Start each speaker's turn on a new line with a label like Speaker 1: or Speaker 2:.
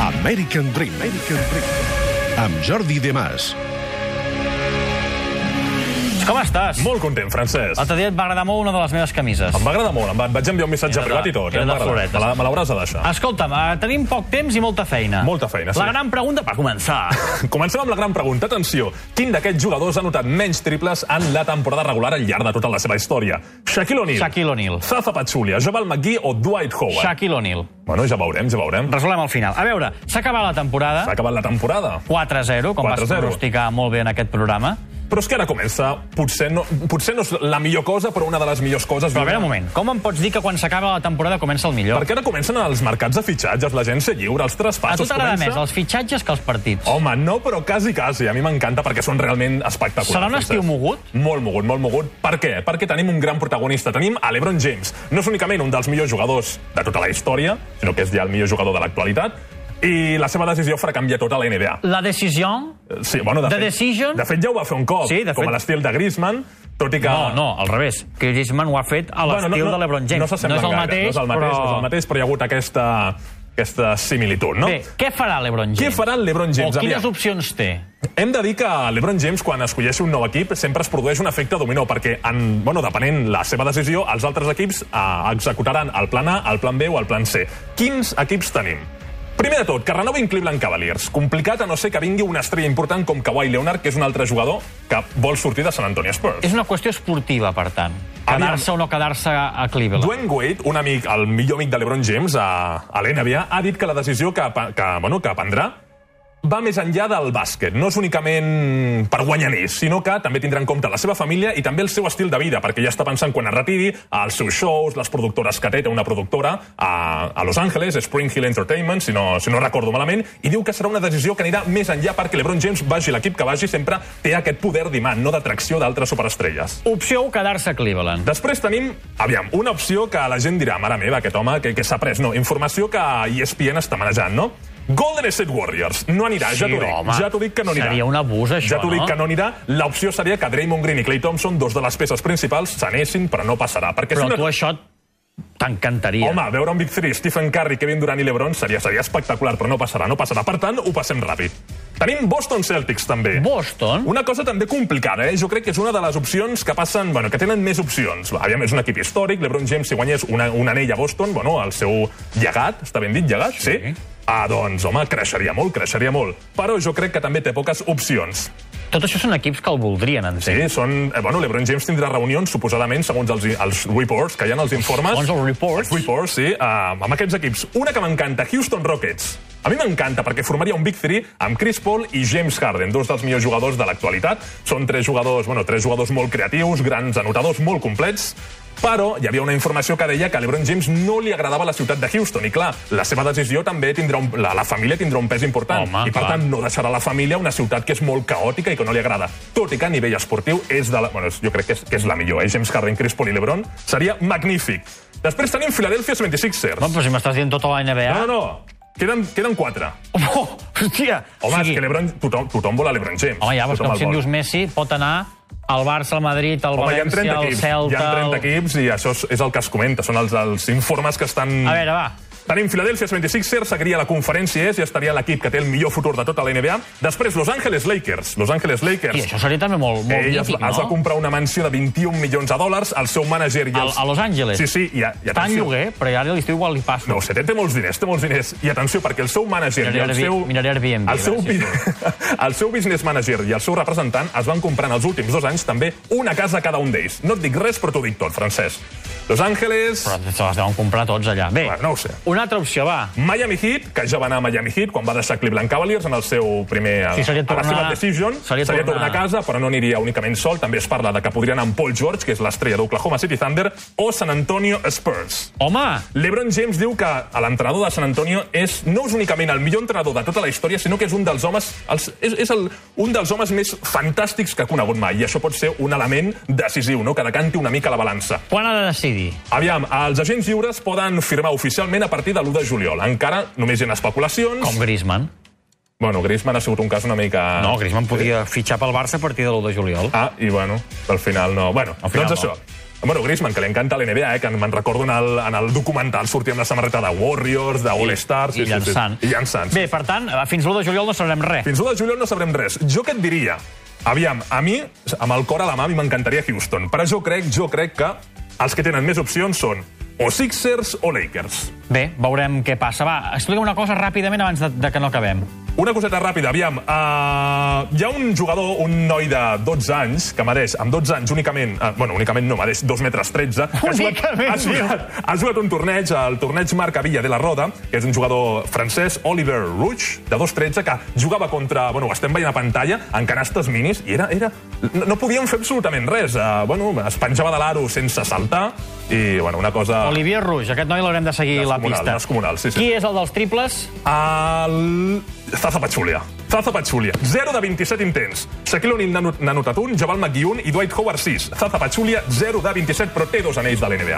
Speaker 1: American Dream. American Dream. Amb Jordi De Mas.
Speaker 2: Com estàs?
Speaker 3: Molt content, Francesc.
Speaker 2: L'altre dia et va agradar molt una de les meves camises.
Speaker 3: Em va agradar molt, em va, et vaig enviar un missatge
Speaker 2: Era de-
Speaker 3: privat i tot.
Speaker 2: era de
Speaker 3: eh? Em va agradar.
Speaker 2: floretes.
Speaker 3: Me la- Me l'hauràs de deixar.
Speaker 2: Escolta'm, eh, tenim poc temps i molta feina.
Speaker 3: Molta feina, sí.
Speaker 2: La gran pregunta per començar.
Speaker 3: Comencem amb la gran pregunta. Atenció, quin d'aquests jugadors ha notat menys triples en la temporada regular al llarg de tota la seva història? Shaquille O'Neal.
Speaker 2: Shaquille O'Neal.
Speaker 3: Zaza Pachulia, Jabal McGee o Dwight Howard?
Speaker 2: Shaquille O'Neal.
Speaker 3: Bueno, ja veurem, ja veurem.
Speaker 2: Resolem al final. A veure, s'ha acabat la temporada.
Speaker 3: S'ha acabat la temporada.
Speaker 2: 4-0, com vas
Speaker 3: 4-0.
Speaker 2: pronosticar molt bé en aquest programa.
Speaker 3: Però és que ara comença, potser no, potser no és la millor cosa, però una de les millors coses...
Speaker 2: Però a veure un moment, com em pots dir que quan s'acaba la temporada comença el millor?
Speaker 3: Perquè ara comencen els mercats de fitxatges, l'agència lliure, els
Speaker 2: A tu
Speaker 3: traspassos...
Speaker 2: t'agrada
Speaker 3: comença-
Speaker 2: més els fitxatges que els partits.
Speaker 3: Home, no, però quasi, quasi. A mi m'encanta perquè són realment espectaculars.
Speaker 2: Serà un estiu
Speaker 3: Francesc.
Speaker 2: mogut?
Speaker 3: Molt mogut, molt mogut. Per què? Perquè tenim un gran protagonista. Tenim a l'Ebron James. No és únicament un dels millors jugadors de tota la història, sinó que és ja el millor jugador de l'actualitat. I la seva decisió farà canviar tota la NBA.
Speaker 2: La decisió...
Speaker 3: Eh, Sí, bueno, de
Speaker 2: The
Speaker 3: fet,
Speaker 2: Decision?
Speaker 3: De fet, ja ho va fer un cop,
Speaker 2: Sí, de
Speaker 3: com
Speaker 2: fet.
Speaker 3: a l'estil de Griezmann, tot i que...
Speaker 2: No, no, al revés. Griezmann ho ha fet a l'estil de l'Ebron James.
Speaker 3: Ah. No, s'assemblen
Speaker 2: és el
Speaker 3: gaire,
Speaker 2: mateix,
Speaker 3: no és el mateix,
Speaker 2: però...
Speaker 3: no és el mateix, però hi ha hagut aquesta, aquesta similitud, no?
Speaker 2: Bé, què farà l'Ebron James?
Speaker 3: Què farà el LeBron James?
Speaker 2: O quines
Speaker 3: Aviam.
Speaker 2: opcions té?
Speaker 3: Hem de dir que l'Ebron James, quan escolleixi un nou equip, sempre es produeix un efecte dominó, perquè, en, bueno, depenent la seva decisió, els altres equips eh, executaran el plan A, el plan B o el plan C. Quins equips tenim? Primer de tot, que renovin Cleveland Cavaliers. Complicat a no ser que vingui una estrella important com Kawhi Leonard, que és un altre jugador que vol sortir de Sant Antonio Spurs.
Speaker 2: És una qüestió esportiva, per tant.
Speaker 3: Aviam.
Speaker 2: Quedar-se o no quedar-se a Cleveland.
Speaker 3: Dwayne Wade, un amic, el millor amic de LeBron James a, a l'NBA, ha dit que la decisió que, pa- que, bueno, que prendrà va més enllà del bàsquet. No és únicament per guanyar més, sinó que també tindrà en compte la seva família i també el seu estil de vida, perquè ja està pensant quan es retiri, als seus shows, les productores que té, té una productora a, a Los Angeles, Spring Hill Entertainment, si no, si no recordo malament, i diu que serà una decisió que anirà més enllà perquè LeBron James vagi l'equip que vagi, sempre té aquest poder d'imant, no d'atracció d'altres superestrelles.
Speaker 2: Opció 1, quedar-se a Cleveland.
Speaker 3: Després tenim, aviam, una opció que la gent dirà, mare meva, aquest home, que, que s'ha pres. No, informació que E ESPN està manejant, no? Golden State Warriors. No anirà, ja t'ho dic. Ja t'ho dic que no anirà.
Speaker 2: Seria un abús, això,
Speaker 3: ja t'ho dic
Speaker 2: no?
Speaker 3: que no anirà. L'opció seria que Draymond Green i Clay Thompson, dos de les peces principals, s'anessin, però no passarà. Perquè
Speaker 2: Però
Speaker 3: si
Speaker 2: a
Speaker 3: no...
Speaker 2: tu això t'encantaria.
Speaker 3: Home, veure un Big Three, Stephen Curry, Kevin Durant i LeBron seria, seria espectacular, però no passarà, no passarà. Per tant, ho passem ràpid. Tenim Boston Celtics, també.
Speaker 2: Boston?
Speaker 3: Una cosa també complicada, eh? Jo crec que és una de les opcions que passen... Bueno, que tenen més opcions. Va, Aviam, és un equip històric. LeBron James, si guanyés una, un anell a Boston, bueno, el seu llegat, està ben dit, llegat, sí. sí. Ah, doncs, home, creixeria molt, creixeria molt. Però jo crec que també té poques opcions.
Speaker 2: Tot això són equips que el voldrien,
Speaker 3: Sí,
Speaker 2: entenc.
Speaker 3: són... Eh, bueno, LeBron James tindrà reunions, suposadament, segons els, els reports que hi ha en els informes.
Speaker 2: Segons els reports?
Speaker 3: Els reports, sí, eh, amb aquests equips. Una que m'encanta, Houston Rockets. A mi m'encanta perquè formaria un Big Three amb Chris Paul i James Harden, dos dels millors jugadors de l'actualitat. Són tres jugadors, bueno, tres jugadors molt creatius, grans anotadors, molt complets. Però hi havia una informació que deia que a LeBron James no li agradava la ciutat de Houston. I clar, la seva decisió també tindrà un, la, la família tindrà un pes important.
Speaker 2: Home,
Speaker 3: I per
Speaker 2: clar.
Speaker 3: tant, no deixarà la família una ciutat que és molt caòtica i que no li agrada. Tot i que a nivell esportiu és de la... Bueno, és- jo crec que és, que és la millor, eh? James Harden, Chris Paul i LeBron. Seria magnífic. Després tenim Philadelphia's 26ers.
Speaker 2: Bueno, però si m'estàs dient tota la NBA...
Speaker 3: No, no, no. Queden, queden quatre.
Speaker 2: Oh, hòstia!
Speaker 3: Home, sí. és que LeBron, tothom, tothom vol a LeBron James.
Speaker 2: Home, ja veus,
Speaker 3: Tothom
Speaker 2: com
Speaker 3: el
Speaker 2: si em
Speaker 3: vol.
Speaker 2: dius Messi, pot anar al Barça, al Madrid, al
Speaker 3: Home, hi ha
Speaker 2: València,
Speaker 3: 30
Speaker 2: al
Speaker 3: equips.
Speaker 2: Celta...
Speaker 3: hi ha 30
Speaker 2: al-
Speaker 3: equips i això és, és el que es comenta. Són els, els informes que estan...
Speaker 2: A veure, va.
Speaker 3: Tenim Philadelphia 26ers, seguiria la conferència és i estaria l'equip que té el millor futur de tota la NBA. Després, Los Angeles Lakers. Los Angeles Lakers.
Speaker 2: I això seria també molt, molt
Speaker 3: Ell es,
Speaker 2: mític,
Speaker 3: es va
Speaker 2: no?
Speaker 3: comprar una mansió de 21 milions de dòlars, el seu mànager i
Speaker 2: A,
Speaker 3: els...
Speaker 2: a Los Angeles.
Speaker 3: Sí, sí, i, a, i
Speaker 2: Està en
Speaker 3: atenció...
Speaker 2: lloguer, però ja a l'estiu igual li passa.
Speaker 3: No ho sé, té, té molts diners, té molts diners. I atenció, perquè el seu mànager i
Speaker 2: Miraré
Speaker 3: el
Speaker 2: Airbnb-
Speaker 3: seu...
Speaker 2: miraré Airbnb,
Speaker 3: El seu,
Speaker 2: a veure si
Speaker 3: bi- el seu business manager i el seu representant es van comprar en els últims dos anys també una casa cada un d'ells. No et dic res, però t'ho dic tot, Francesc. Los Angeles...
Speaker 2: Però se les deuen comprar tots allà. Bé,
Speaker 3: Bueno, no ho sé.
Speaker 2: una altra opció, va.
Speaker 3: Miami Heat, que ja va anar a Miami Heat quan va deixar Cleveland Cavaliers en el seu primer...
Speaker 2: Sí, seria
Speaker 3: a la
Speaker 2: tornar-
Speaker 3: seva decision,
Speaker 2: seria
Speaker 3: seria, seria
Speaker 2: tornar
Speaker 3: tornar... a casa, però no aniria únicament sol. També es parla de que podria anar amb Paul George, que és l'estrella d'Oklahoma City Thunder, o San Antonio Spurs.
Speaker 2: Home,
Speaker 3: LeBron James diu que a l'entrenador de San Antonio és no és únicament el millor entrenador de tota la història, sinó que és un dels homes els, és, és el, un dels homes més fantàstics que ha conegut mai, i això pot ser un element decisiu, no? que decanti una mica la balança.
Speaker 2: quan ha de decidir?
Speaker 3: Aviam, els agents lliures poden firmar oficialment a partir de l'1 de juliol. Encara només hi ha especulacions.
Speaker 2: Com Griezmann.
Speaker 3: Bueno, Griezmann ha sigut un cas una mica...
Speaker 2: No,
Speaker 3: Eh.
Speaker 2: Griezmann podia fitxar pel Barça a partir de l'1 de juliol.
Speaker 3: Ah, i bueno, al final no. Bueno,
Speaker 2: Al final
Speaker 3: doncs
Speaker 2: no.
Speaker 3: això. Bueno, Griezmann, que li encanta l'NBA, eh? que me'n recordo en el, en el documental, sortia amb la samarreta de Warriors, de All Stars...
Speaker 2: I llançant.
Speaker 3: Sí, I llançant. sí.
Speaker 2: Bé, per tant, eh, fins l'1 de juliol no sabrem res.
Speaker 3: Fins l'1 de juliol no sabrem res. Jo què et diria? Aviam, a mi, amb el cor a la mà, a mi m'encantaria Houston, però jo crec, jo crec que els que tenen més opcions són o Sixers o Lakers.
Speaker 2: Bé, veurem què passa. Va, explica una cosa ràpidament abans de, de que no acabem.
Speaker 3: Una coseta ràpida, aviam. Uh, hi ha un jugador, un noi de 12 anys, que mereix, amb 12 anys únicament... Uh, bueno, únicament no, mereix 2 metres 13. que
Speaker 2: Únicament,
Speaker 3: Ha jugat, ha jugat un torneig, el torneig Marc Villa de la Roda, que és un jugador francès, Oliver Rouge, de 2'13, que jugava contra... Bueno, ho estem veient a pantalla, en canastes minis, i era... era no, no podien fer absolutament res. Uh, bueno, es penjava de l'aro sense saltar, i, bueno, una cosa...
Speaker 2: Olivier Rouge, aquest noi l'haurem de seguir la
Speaker 3: Ah. Descomunal,
Speaker 2: pista.
Speaker 3: descomunal, sí, sí.
Speaker 2: Qui és el dels triples?
Speaker 3: El... Zaza Pachulia. Zaza Pachulia. 0 de 27 intents. Shaquille O'Neal n'ha not- n'ha anotat un, Jabal McGee un i Dwight Howard 6. Zaza Pachulia, 0 de 27, però té dos anells de l'NBA.